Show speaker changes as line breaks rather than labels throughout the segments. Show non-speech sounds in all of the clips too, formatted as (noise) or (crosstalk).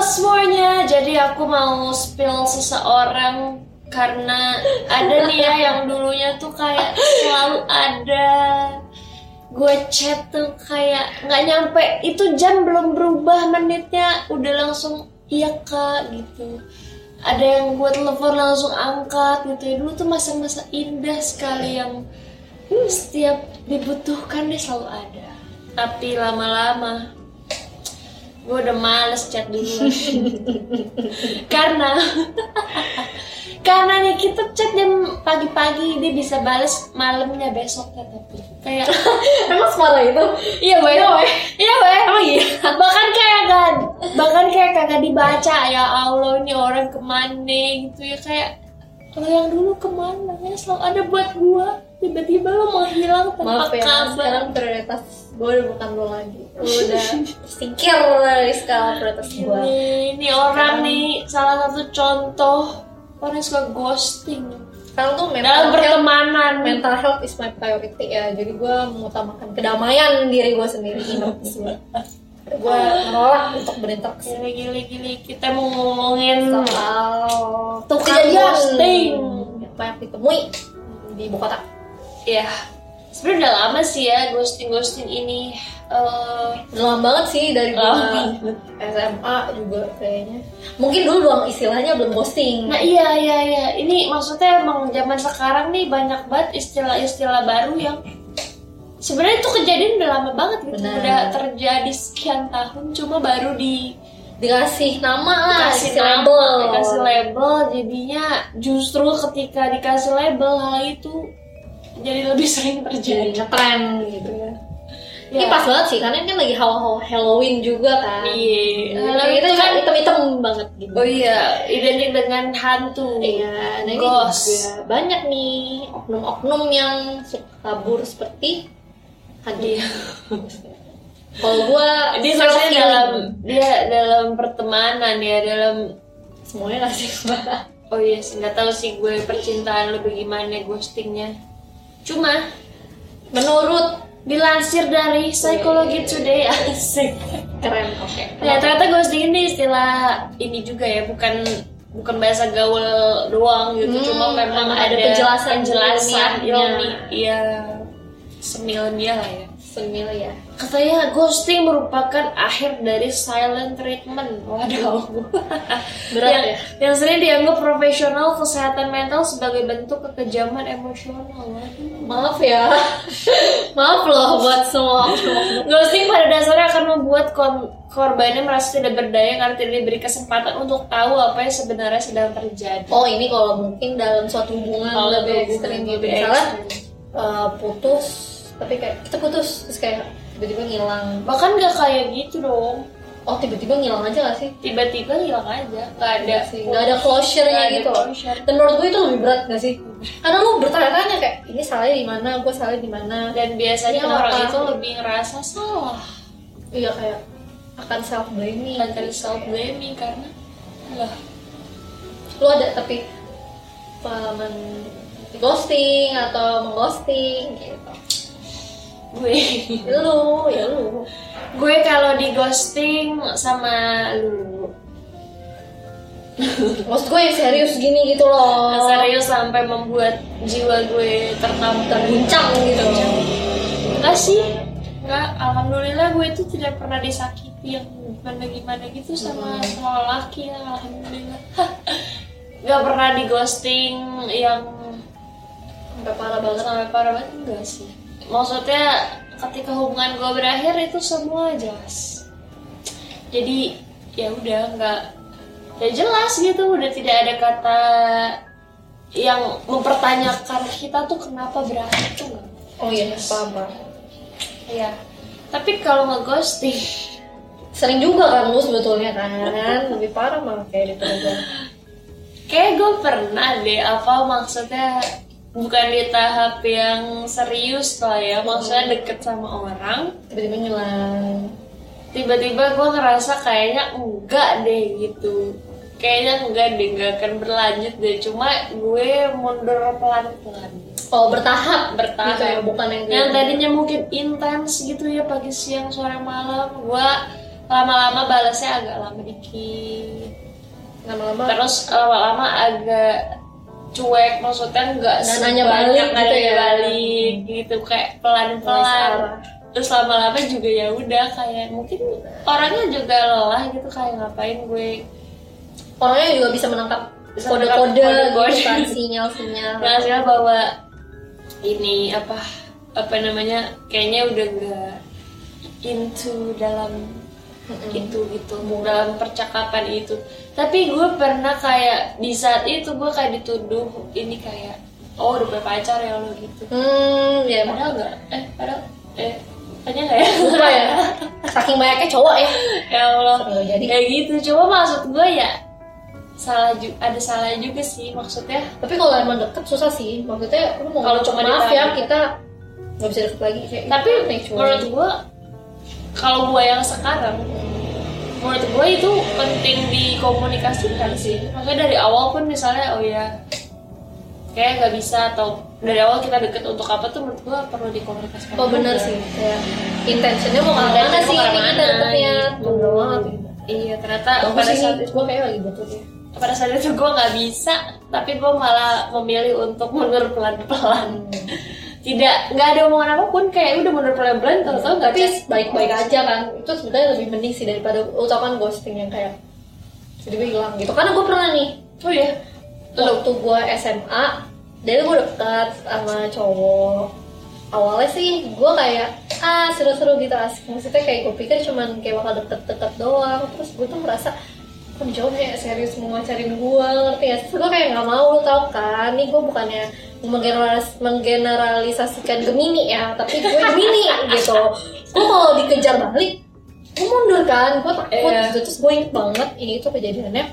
semuanya. Jadi aku mau spill seseorang karena ada nih ya yang dulunya tuh kayak selalu ada. Gue chat tuh kayak nggak nyampe itu jam belum berubah menitnya udah langsung iya kak gitu ada yang gue telepon langsung angkat gitu ya dulu tuh masa-masa indah sekali yang setiap dibutuhkan dia selalu ada tapi lama-lama gue udah males chat
(laughs)
dulu karena karena nih kita chat jam pagi-pagi dia bisa bales malamnya besok tapi kayak
Emang separah itu?
iya weh
Iya, weh.
iya weh
Emang iya?
bahkan kayak gak, bahkan kayak kagak dibaca ya Allah ini orang kemana gitu ya kayak kalau yang dulu kemana ya selalu ada buat gua tiba-tiba lo menghilang tanpa
Maaf ya,
kabar
sekarang prioritas gue udah bukan lo lagi Lo (laughs) udah singkir dari skala prioritas gue
ini, ini orang nih salah satu contoh orang yang suka ghosting
Sekarang tuh mental
dalam
health,
pertemanan
mental health is my priority ya Jadi gue mengutamakan kedamaian diri gue (laughs) sendiri Gue menolak untuk berinteraksi
gila gila gila kita mau ngomongin
Hmm. soal
Tukang ghosting.
yang banyak ditemui di ibu kota
ya sebenarnya udah lama sih ya ghosting ghosting ini Eh,
Udah lama banget sih dari
Lama
gua SMA juga kayaknya mungkin dulu belum istilahnya belum ghosting
Nah iya iya iya ini maksudnya emang zaman sekarang nih banyak banget istilah-istilah baru yang sebenarnya itu kejadian udah lama banget gitu
Benar.
udah terjadi sekian tahun cuma baru di
dikasih nama
kasih
lah Nah, dikasih label
dikasih label jadinya justru ketika dikasih label hal itu jadi lebih sering
jadi
terjadi.
ngetren gitu ya
Ya.
ini pas banget sih karena ini kan lagi hawa-hawa Halloween juga kan
Iya. Kalau
Halloween itu kan item-item banget gitu
Oh iya, identik dengan hantu.
Iya, nah ini
Ghost.
juga banyak nih oknum-oknum yang suka kabur seperti hantu.
Iya.
Kalau gua
Dia
self
sebenarnya
healing.
dalam dia dalam pertemanan ya dalam
semuanya ngasih banget.
Oh iya sih, nggak tahu sih gue percintaan lebih gimana ghostingnya. Cuma
Menurut
dilansir dari
Iya.
Psychology Today asik.
keren, oke.
Ya ternyata ghosting ini istilah ini juga ya, bukan bukan bahasa gaul doang gitu,
Hmm,
cuma memang ada,
ada penjelasan
penjelasan
ilmiahnya.
ilmi, ya semilmiah lah ya.
Semil ya.
Katanya ghosting merupakan akhir dari silent treatment. Waduh.
Berat
yang,
ya.
yang sering dianggap profesional kesehatan mental sebagai bentuk kekejaman emosional. Waduh.
Maaf ya. (laughs) Maaf loh buat semua.
Ghosting pada dasarnya akan membuat kon- korbannya merasa tidak berdaya karena tidak diberi kesempatan untuk tahu apa yang sebenarnya sedang terjadi.
Oh ini kalau mungkin dalam suatu hubungan lebih ekstrim gitu. Misalnya eh, putus, tapi kayak kita putus terus kayak tiba-tiba ngilang.
Bahkan gak kayak gitu dong.
Oh tiba-tiba ngilang aja gak sih?
Tiba-tiba hilang aja, gak ada.
sih nggak ada closure-nya
Nggak ada
gitu loh.
closure.
dan menurut gue itu lebih berat gak (laughs) sih karena lu bertanya-tanya kayak ini salahnya di mana gue salah di mana
Dan biasanya
Kenapa?
orang itu lebih ngerasa salah
iya kayak akan self blaming
akan self blaming karena lah
lu ada tapi pengalaman ghosting atau mengghosting gitu
gue
lu ya lu
gue kalau di ghosting sama lu
maksud gue yang serius gini gitu loh
serius sampai membuat jiwa gue tertampar
terguncang gitu
enggak sih enggak alhamdulillah gue itu tidak pernah disakiti yang gimana gimana gitu sama sama laki ya alhamdulillah (laughs) nggak pernah di ghosting yang
sampai parah banget
sampai parah banget enggak sih maksudnya ketika hubungan gue berakhir itu semua jelas jadi ya udah nggak ya jelas gitu udah tidak ada kata yang mempertanyakan kita tuh kenapa berakhir tuh nggak ada.
oh iya paham paham.
Iya. Tapi kalau nggak ghosting,
sering juga kan lu sebetulnya kan (laughs) lebih parah malah kayak gitu daripada gue
kayak gue pernah deh apa maksudnya bukan di tahap yang serius lah ya, maksudnya deket sama orang,
tiba-tiba ngilang
tiba-tiba gue ngerasa kayaknya enggak deh gitu, kayaknya enggak deh nggak akan berlanjut deh, cuma gue mundur pelan-pelan.
Oh bertahap
Bertahap.
gitu ya bukan yang
Yang tadinya mungkin intens gitu ya pagi siang sore malam, gue lama-lama balasnya agak lama dikit
lama-lama
terus lama-lama agak cuek maksudnya nggak
Dan nanya
sebanyak
balik gitu
nanya
ya.
balik gitu kayak
mulai
pelan-pelan
salah.
terus lama-lama juga ya udah kayak mungkin orangnya juga lelah gitu kayak ngapain gue
orangnya juga bisa menangkap
Bisa
kode-kode
menangkap
gitu
kode-kode.
kan sinyal-sinyal
nah hasilnya bahwa ini apa apa namanya kayaknya udah nggak into dalam itu gitu dalam percakapan itu tapi gue pernah kayak di saat itu gue kayak dituduh ini kayak oh udah punya pacar ya lo gitu
hmm ya emang
padahal nggak eh padahal eh hanya nggak ya (laughs)
lupa ya saking banyaknya cowok ya
ya allah
Nggak jadi
ya gitu cuma maksud gue ya salah ju- ada salah juga sih maksudnya
tapi kalau emang deket susah sih maksudnya lu mau
Kalau
ngomong,
cuma
maaf
ditanya.
ya kita nggak bisa deket lagi kayak
tapi
gitu, kayak cowok.
menurut gue kalau gue yang sekarang menurut gue itu penting dikomunikasikan sih makanya dari awal pun misalnya oh ya kayak nggak bisa atau dari awal kita deket untuk apa tuh menurut gue perlu dikomunikasikan
oh bener
juga.
sih kayak intentionnya mau
Kalau
kemana
dari
sih ini ya,
kemana-mana,
kita deketnya
gitu.
tunggu banget
iya ternyata
bagus
pada
sih
saat
gue kayak lagi ya. butuh deh
pada saat itu gue nggak bisa tapi gue malah memilih untuk mundur pelan-pelan tidak nggak ada omongan apapun kayak udah mundur pelan-pelan tau tau nggak
tapi
chat.
baik-baik aja kan itu sebenarnya lebih mending sih daripada lu tau kan ghosting yang kayak jadi gue hilang gitu karena gue pernah nih
oh iya lo
waktu gue SMA dari gue deket sama cowok awalnya sih gue kayak ah seru-seru gitu asik maksudnya kayak gue pikir cuman kayak bakal deket-deket doang terus gue tuh merasa kok nih cowok kayak serius mau ngacarin gue ngerti ya terus gue kayak nggak mau lo tau kan nih gue bukannya menggeneralis- menggeneralisasikan Gemini ya tapi gue Gemini gitu gue kalau dikejar balik gue mundur kan gue takut
Iya.
gitu terus gue inget banget ini tuh kejadiannya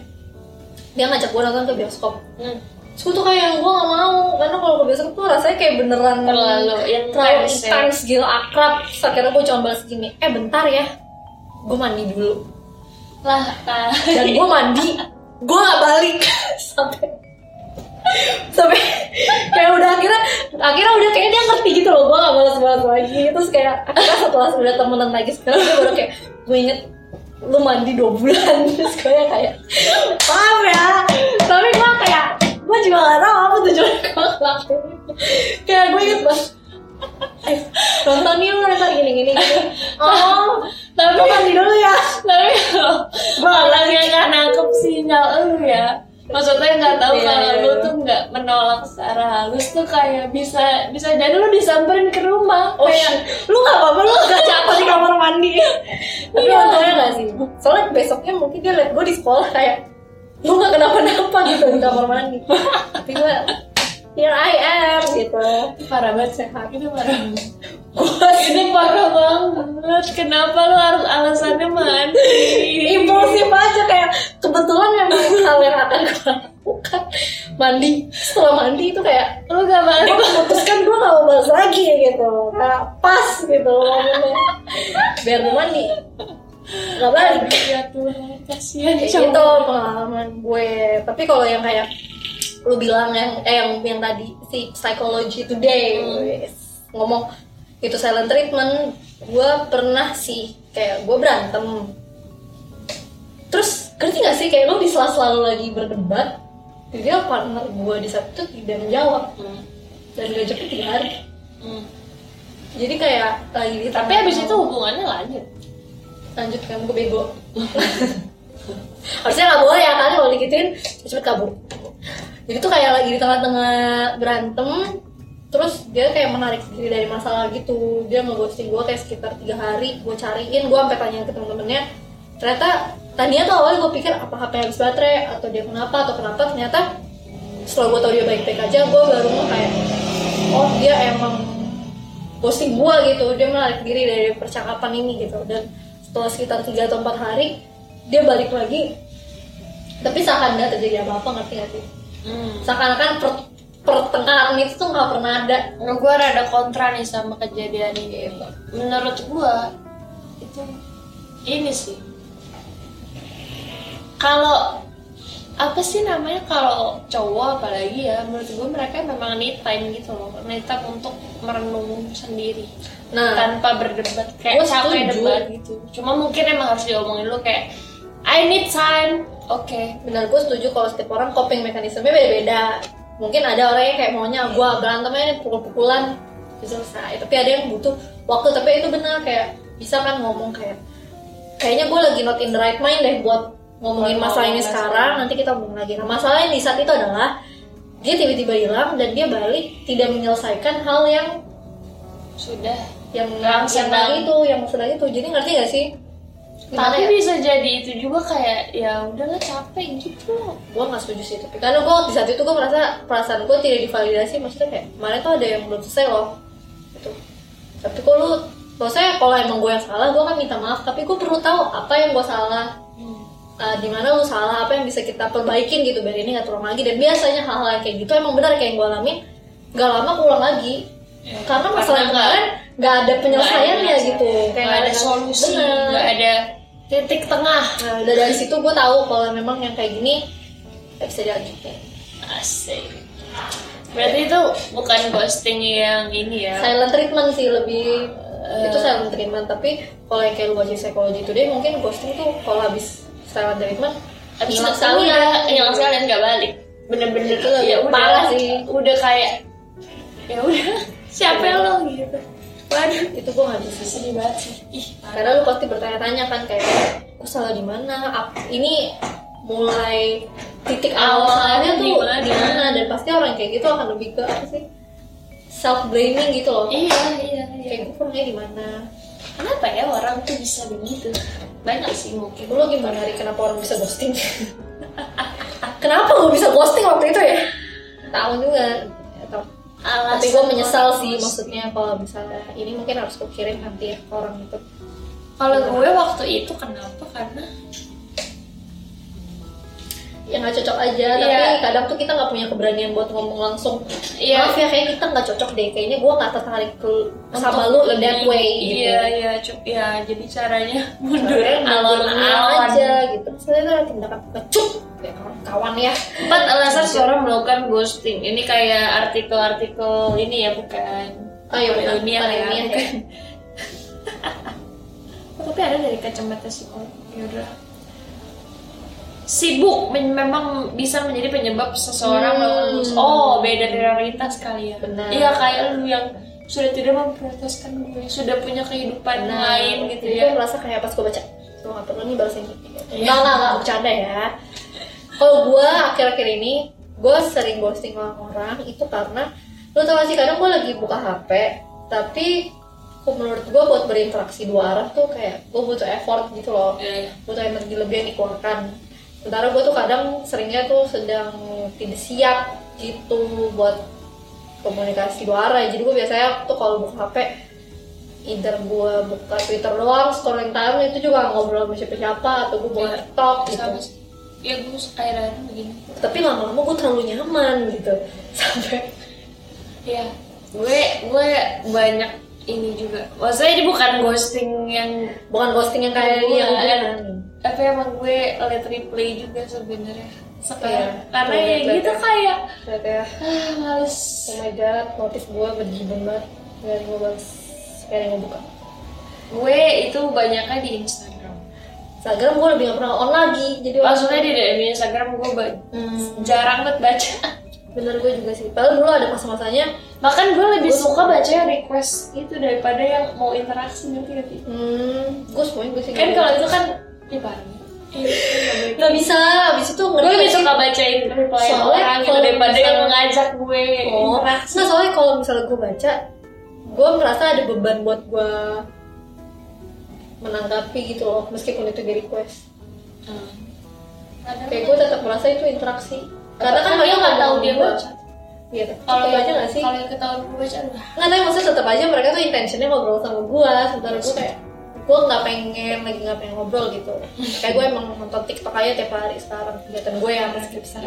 dia ngajak gue nonton ke bioskop
Hmm.
Terus gue tuh kayak gue gak mau karena kalau ke bioskop tuh rasanya kayak beneran
terlalu
terlalu
intense ya.
intens gitu akrab Terus akhirnya gue cuma balas gini eh bentar ya gue mandi dulu
lah
(laughs)
ah.
dan gue mandi gue gak balik (laughs) sampai sampai kayak udah akhirnya akhirnya udah kayaknya dia ngerti gitu loh gue gak balas balas lagi terus kayak akhirnya setelah sudah temenan lagi sekarang gue baru kayak gue inget lu mandi dua bulan (laughs) terus gue kayak paham ya tapi gue kayak gue juga gak tau apa tujuan gue ngelakuin itu. kayak gue inget banget eh nonton yuk nonton gini gini gini oh
tapi
gue mandi dulu ya
tapi kalau orang yang nggak nangkep sinyal lu ya maksudnya nggak tahu
Iya,
kalau
iya,
lu
iya.
tuh nggak menolak secara halus tuh kayak bisa bisa jadi lu disamperin ke rumah
Oh
kayak
iya, lu gak apa-apa, lu gak capek di kamar mandi Tapi
Iya.
untungnya gak sih Soalnya besoknya mungkin dia liat gue di sekolah kayak Lu gak kenapa-napa gitu di kamar mandi Tapi gue, here I am gitu
parah banget
Sehat
itu parah banget. ini parah banget kenapa lu harus alasannya mandi
Impulsif aja kayak kebetulan memang hal yang akan gue lakukan Mandi, setelah mandi itu kayak
lu gak
Gue
(laughs) balik
memutuskan gue gak mau bahas lagi gitu Kayak pas gitu momennya. Biar gue mandi Gak balik
ya Tuhan kasihan
Kayak
cowok.
gitu pengalaman gue tapi kalau yang kayak lu bilang yang eh yang, yang tadi si psychology today
Hmm.
wes. ngomong itu silent treatment gue pernah sih kayak gue berantem terus ngerti gak sih kayak lu di sela-sela lu lagi berdebat dia partner gue di saat itu tidak menjawab
Hmm.
dan gak cepet tiga hari
Hmm.
jadi kayak lagi di
tapi abis itu hubungannya lanjut
lanjut kamu gue bego (laughs) harusnya nggak boleh ya kan kalau digituin cepet kabur jadi tuh kayak lagi di tengah-tengah berantem terus dia kayak menarik diri dari masalah gitu dia ngeghosting gue kayak sekitar tiga hari gue cariin gue sampai tanya ke temen-temennya ternyata tadinya tuh awalnya gue pikir apa HP habis baterai atau dia kenapa atau kenapa ternyata setelah gue tau dia baik-baik aja gue baru mau kayak oh dia emang ghosting gua gitu dia menarik diri dari percakapan ini gitu dan setelah sekitar 3 atau 4 hari dia balik lagi tapi seakan nggak terjadi apa-apa ngerti nggak sih
hmm.
seakan-akan per- pertengkaran itu tuh nggak pernah ada
Menurut gue rada kontra nih sama kejadian ini. Menurut gue itu ini sih. Kalau apa sih namanya kalau cowok apalagi ya menurut gue mereka memang need time gitu loh need time untuk merenung sendiri
nah
tanpa berdebat Kan, kayak
Gue
capek
setuju.
debat gitu cuma mungkin emang harus diomongin dulu kayak I need time oke
benar gue setuju kalau setiap orang coping mekanismenya beda-beda mungkin ada orang yang kayak maunya gue berantemnya pukul-pukulan ya selesai tapi ada yang butuh waktu tapi itu benar kayak bisa kan ngomong kayak kayaknya gue lagi not in the right mind deh buat ngomongin
Buat
masalah
ngomong
ini
masalah.
sekarang nanti kita ngomong lagi nah masalah yang di saat itu adalah dia tiba-tiba hilang dan dia balik tidak menyelesaikan hal yang
sudah
yang
Yang
yang
sedang.
lagi itu yang sedang itu jadi ngerti gak sih Gimana
tapi
ya?
bisa jadi itu juga kayak ya udahlah capek gitu loh
gue nggak setuju sih tapi karena gue di saat itu gue merasa perasaan gue tidak divalidasi maksudnya kayak kemarin tuh ada yang belum selesai loh gitu tapi kok lu maksudnya kalau emang gue yang salah gue akan minta maaf tapi gue perlu tahu apa yang gue salah
Hmm.
eh, di mana lu salah apa yang bisa kita perbaikin gitu biar ini nggak terulang lagi dan biasanya hal-hal yang kayak gitu emang benar kayak yang gue alamin gak lama ulang lagi karena masalah
Iya. Karena
kemarin nggak ada penyelesaiannya
Nggak ada
gitu
nggak ada solusi
Bener.
nggak ada titik tengah
Nah, udah dari situ gue tahu kalau memang yang kayak gini nggak bisa dilanjutin.
asik berarti itu bukan ghosting yang ini ya
Silent treatment sih lebih eh, itu silent treatment tapi kalau yang kayak lu baca psikologi itu deh mungkin ghosting tuh kalau habis silent treatment
habis hilang
hilang
sekalian
sekalian.
ya, hilang sekalian nggak balik bener-bener
Itu lebih
ya udah
parah sih.
udah kayak ya udah (laughs) siapa lo gitu waduh
itu gue nggak bisa sih.
sedih banget sih ih
karena lu pasti bertanya-tanya kan kayak gue salah di mana Ap- ini mulai titik awal
Awalnya
salahnya tuh
dimana?
di mana dan pasti orang kayak gitu akan lebih ke apa sih self blaming gitu loh
iya iya iya
kayak gue pernah di mana
kenapa ya orang tuh bisa begitu banyak sih mungkin
Lu gimana hari kenapa orang bisa ghosting? (laughs) kenapa lu bisa ghosting waktu itu ya? Tahu juga. Atau-
alasan
Tapi gue menyesal
orang
sih
ghosting.
maksudnya kalau misalnya ini mungkin harus gue kirim nanti ya ke orang itu.
kalau gue waktu itu kenapa karena
Ya nggak cocok
Iya.
aja, tapi kadang tuh kita nggak punya keberanian buat ngomong langsung.
Iya.
Maaf ya, kayaknya kita nggak cocok deh. Kayaknya gue nggak tertarik ke sama lu
Untuk
in that
ini,
way gitu.
iya iya cu- ya jadi caranya (laughs) mundur
Sebenarnya alon-alon
alon-alon
aja gitu. Misalnya itu ada tindakan kecup, ya kawan ya.
Empat alasan seorang melakukan ghosting. Ini kayak artikel-artikel ini ya bukan?
Oh, iya, bukan.
ilmiah
Bukan
ya.
ilmiah,
bukan. Oh, (laughs) Tapi ada dari kacamata psikolog. Yaudah. Sibuk men- memang bisa menjadi penyebab seseorang
Hmm.
melakukan ghosting. Oh, beda prioritas kali ya.
Benar.
Iya kayak lu yang sudah tidak memprioritaskan gue, sudah punya kehidupan
Nah,
lain gitu
Jadi
ya.
gue merasa kayak pas gue baca gue gak perlu nih bahasa Inggris
Iya.
nggak nggak nggak bercanda ya kalau gue akhir-akhir ini gue sering ghosting orang-orang itu karena lu tau gak sih kadang gue lagi buka HP tapi menurut gue buat berinteraksi dua arah tuh kayak gue butuh effort gitu loh
Iya.
butuh energi lebih yang dikeluarkan sementara gue tuh kadang seringnya tuh sedang tidak siap gitu buat komunikasi dua arah jadi gue biasanya tuh kalau buka hp either gue buka twitter doang scrolling time itu juga nggak ngobrol sama siapa siapa atau gue buka
Iya.
tiktok gitu
Sama sih. Ya gue akhir-akhir begini.
tapi lama-lama gue terlalu nyaman gitu (laughs) sampai
Iya, gue gue banyak ini juga. Maksudnya ini bukan ghosting yang
bukan ghosting yang kayak
Iya.
yang gue
tapi emang gue liat replay juga sebenarnya sekarang.
Iya,
Karena
iya,
ya
iya.
gitu kayak
Lihat ya
ah males.
oh my god notif gue berjibun banget gak ada yang gue balas gak ada yang gue buka
Gue itu banyaknya di Instagram.
Instagram gue lebih gak pernah on lagi jadi
Maksudnya di DM Instagram gue ba-
Hmm,
jarang banget baca.
bener gue juga sih. Padahal dulu ada masa-masanya,
(laughs) Bahkan gue lebih suka baca yang request itu daripada yang mau interaksi nanti nanti.
hmm, gue semuanya gue sih.
Kan kalau itu kan dipanggil. Iya,
nggak bisa, abis itu
gue
ngerti
lebih
nggak sih?
suka bacain reply
Soalnya
orang gitu
kalau
daripada yang
misalnya-
ngajak gue
Oh, nah
interaksi
soalnya kalau misalnya gue baca, gue merasa ada beban buat gue menanggapi gitu loh, meskipun itu di request. Kayak gue tetap merasa itu interaksi. Karena kan mereka
nggak tahu dia
gue.
baca
Iya, tetap
kalau
tetap aja nggak sih?
kalau yang ketahuan gue baca udah
Nggak tapi maksudnya tetap aja mereka tuh intentionnya ngobrol sama gue Sementara gue kayak gue nggak pengen lagi nggak pengen ngobrol gitu kayak gue emang nonton tiktok aja tiap hari sekarang kegiatan gue
Iya,
yang skripsian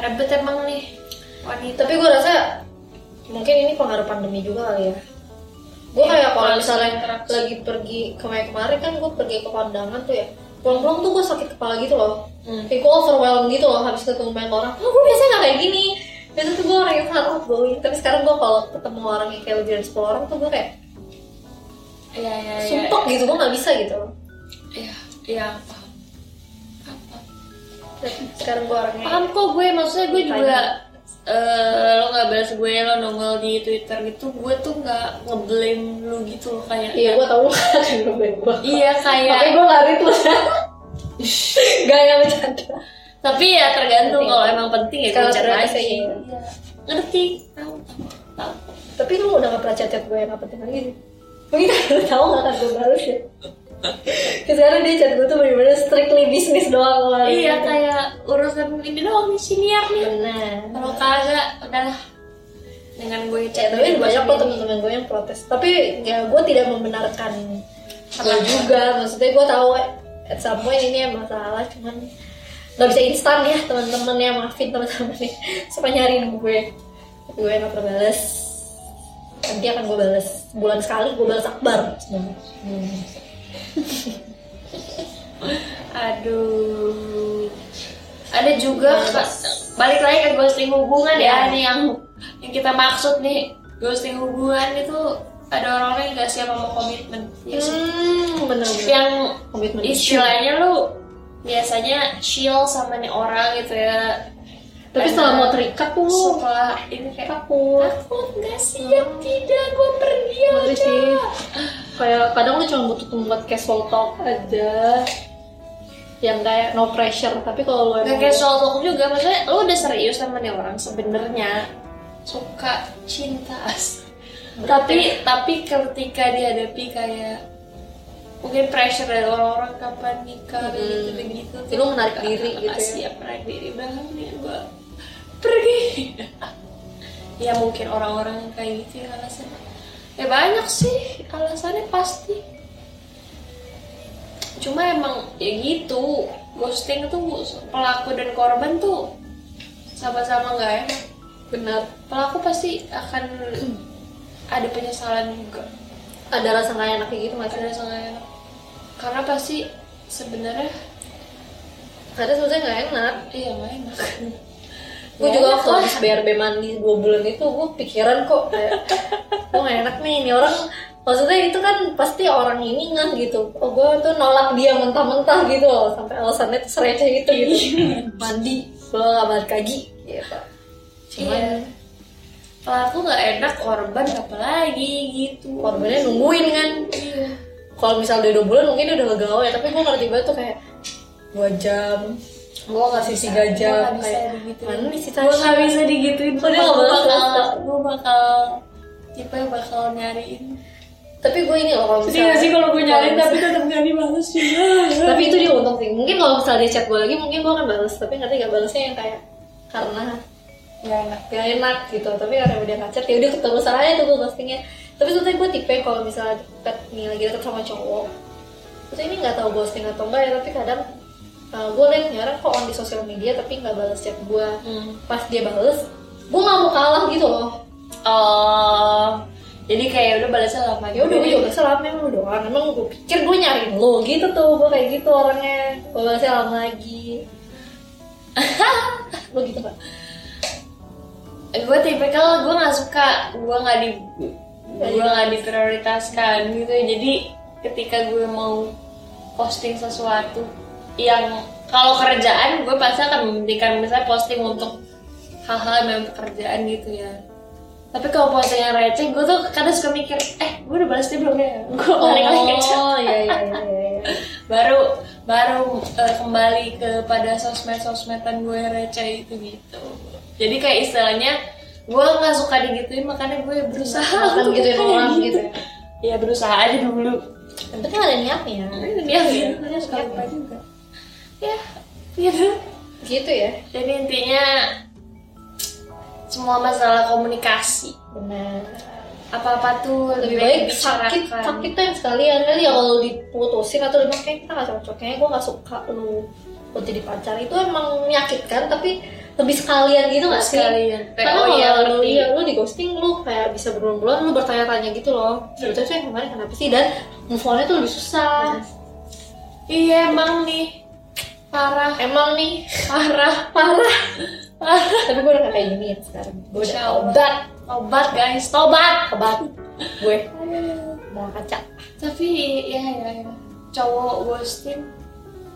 ribet emang nih wanita
tapi gue rasa mungkin ini pengaruh pandemi juga kali ya gue
Iya,
kayak kalau
harus
misalnya
interaksi.
lagi pergi kemarin kemarin kan gue pergi ke kondangan tuh ya pulang-pulang tuh gue sakit kepala gitu loh
Hmm.
kayak gue overwhelmed gitu loh habis ketemu banyak orang oh, gue biasanya gak kayak gini biasanya tuh gue orang yang sangat outgoing tapi sekarang gue kalau ketemu orang yang kayak lebih dari 10 orang tuh gue kayak
Iya, iya, iya.
sumpek gitu gue gak bisa gitu
Iya, iya, paham. Apa?
Dan sekarang gue orangnya
Paham kok gue, maksudnya gue
Tanya.
juga eh, lo nggak balas gue, lo nongol di Twitter gitu, gue tuh nggak ngeblame lu gitu loh kayak
iya gue tau lu kan gue
Iya kayak
Makanya gue lari terus Gak yang bercanda
tapi ya tergantung
Penting.
kalau emang penting ya
Kalau
gue chat
ternyata
aja.
kayak gitu.
Iya. Ngerti? Tahu, tahu, tahu.
Tapi lu udah gak pernah chat gue yang Iya. gak penting lagi sih Mungkin karena lu tau gak kan gue balas ya Kayak Sekarang dia chat gue tuh bener-bener strictly bisnis doang kemarin
Iya kayak urusan ini doang nih sini ya nih.
kan. Bener
Kalau kagak udahlah dengan gue
Ya,
chat
tapi
gue
banyak kok
sendiri.
teman-teman gue yang protes. Tapi ya gue tidak membenarkan apa juga. Maksudnya gue tahu eh, at some point ini emang salah, cuman nggak bisa instan ya teman-teman ya (laughs) maafin teman-teman nih. Suka nyariin gue, Tapi gue nggak pernah balas. Nanti akan gue balas bulan sekali gue balas akbar. Hmm.
Aduh. Ada juga Kak, balik lagi ke ghosting hubungan ya,
Ya.
ini yang yang kita maksud nih ghosting hubungan itu ada orang-orang yang gak siap sama komitmen. Ya sih.
Hmm, bener bener.
Yang
Komitmen
istilahnya lu biasanya chill sama nih orang gitu ya
Tapi setelah mau terikat tuh lu
setelah ini kayak Hmm.
takut.
Oh. takut nggak siap tidak gue pergi
Bener
aja
sih. Kayak kadang lu cuma butuh tempat casual talk aja yang kayak no pressure tapi kalau lu
nggak
emang
casual talk juga maksudnya lu udah serius sama nih orang sebenarnya suka cinta as tapi tapi ketika dihadapi kayak mungkin pressure dari orang-orang kapan nikah gitu gitu
Jadi lu menarik diri gitu ya.
siap menarik diri banget nih gue pergi (laughs) ya mungkin orang-orang yang kayak gitu ya alasannya ya banyak sih alasannya pasti cuma emang ya gitu ghosting tuh pelaku dan korban tuh sama-sama nggak enak
benar
pelaku pasti akan (clears throat) ada penyesalan juga
ada rasa nggak enak kayak gitu nggak sih?
ada rasa nggak enak karena pasti sebenarnya
karena sebenarnya nggak enak
iya nggak enak (laughs)
gue
Ya
juga
enak
waktu
lah.
habis BRB mandi dua bulan itu gue pikiran kok kayak gue nggak enak nih ini orang maksudnya itu kan pasti orang ini kan gitu oh gue tuh nolak dia mentah-mentah gitu loh sampai alasannya tuh sereceh itu gitu (laughs) mandi gue nggak balik lagi gitu cuman
Iya. pelaku nggak enak korban apa lagi gitu
korbannya nungguin kan
iya.
kalau misalnya udah dua bulan mungkin dia udah galau ya tapi gue ngerti banget tuh kayak dua jam gue ngasih tiga
Gua
jam
nggak bisa
kayak
digituin.
mana nih si
gue
Tasya
Iya. nggak bisa digituin
Gua dia nggak
gue
bakal-
bakal gue bakal tipe yang bakal nyariin Iya.
tapi gue ini loh kalau
sedih
misalnya
nggak sih kalau gue nyariin
kalau
tapi tetap nggak dibalas juga
misalnya- tapi itu dia untung sih mungkin kalau misalnya dia chat gue lagi mungkin gue akan balas tapi ngerti gak balasnya yang kayak karena
nggak enak
gak enak gitu tapi karena udah ngacet ya udah ketemu saya tuh gue ghostingnya tapi sebetulnya gue tipe kalau misalnya deket nih lagi deket sama cowok terus ini nggak tahu ghosting atau enggak ya tapi kadang uh, gue liat nih orang kok on di sosial media tapi nggak balas chat gue
Hmm.
pas dia bales gue nggak mau kalah gitu loh
oh jadi kayak udah balasnya lama
ya udah gue juga selama emang lu doang emang gue pikir gue nyariin lo gitu tuh gue kayak gitu orangnya gue balasnya lama lagi (laughs) lo gitu pak
gue Eh, tipikal gue nggak suka gue nggak di gue nggak diprioritaskan gitu jadi ketika gue mau posting sesuatu yang kalau kerjaan gue pasti akan memberikan misalnya posting untuk hal-hal yang memang pekerjaan gitu ya tapi kalau posting yang receh gue tuh kadang suka mikir eh gue udah balas dia belum ya gue balik lagi ke chat.
oh iya iya iya, iya
baru baru eh, kembali kepada sosmed sosmedan gue yang receh itu gitu jadi kayak istilahnya gue nggak suka digituin makanya gue berusaha
Makan
untuk
gituin
kayak
orang gitu
(laughs)
ya.
ya berusaha aja dulu
tapi kan ada niatnya
ya gitu
Iya,
suka
iya.
lupa juga ya gitu
gitu ya
jadi intinya semua masalah komunikasi
benar
apa-apa tuh
lebih baik sakit
dibicarakan.
sakit tuh yang sekalian kali ya kalau diputusin atau dibilang kayak kita nggak cocok kayaknya gue nggak suka lu buat jadi pacar itu emang menyakitkan tapi lebih sekalian gitu nggak sih
Sekalian.
karena
Oh,
kalau
iya,
lu
ngerti.
iya, lu di ghosting lu kayak bisa berulang-ulang lu
Iya.
ya, bertanya-tanya gitu loh sebetulnya yang kemarin kenapa sih dan move onnya tuh lebih susah
Iya emang nih parah
Emang nih, (laughs)
parah parah parah.
tapi gue udah gak kayak gini ya sekarang. Gue udah
Insya Allah.
obat,
Tobat guys, tobat.
obat. Gue
Aduh.
mau kaca.
Tapi ya ya ya cowok ghosting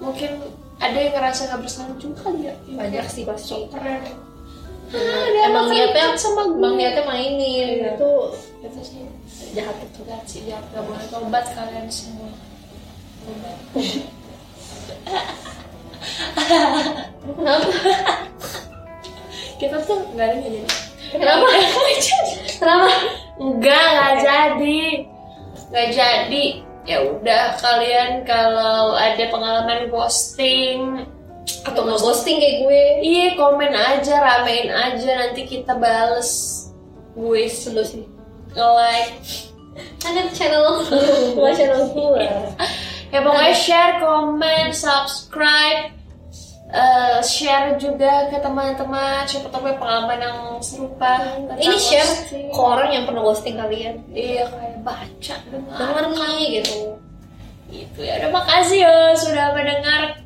mungkin ada yang ngerasa gak bersalah juga kali ya.
Banyak sih pasti.
Keren.
Bener.
ada
emang
apa
niatnya
kaitan sama gue?
Emang niatnya mainin
Iya.
itu
Itu sih
jahat itu.
Enggak ya, sih, ya nggak boleh tobat kalian semua. Tobat.
Lu Kenapa? (laughs)
Kita tuh nggak ada yang jadi.
Kenapa? Kenapa?
Enggak, nggak jadi. Nggak jadi. Ya udah kalian kalau ada pengalaman ghosting,
Atau nggak ghosting kayak gue?
iya komen aja, ramein aja nanti kita bales. Gue
Selu sih.
like.
Ada (laughs) channel, bukan channel gue.
Ya pokoknya share, komen, subscribe. eh, share juga ke teman-teman siapa tahu punya pengalaman yang serupa tentang
Ini share
ghosting.
ke orang yang pernah ghosting kalian.
Iya kayak baca dengar
Dengar nih gitu.
gitu ya. Udah makasih ya sudah mendengarkan.
Ah, Iya.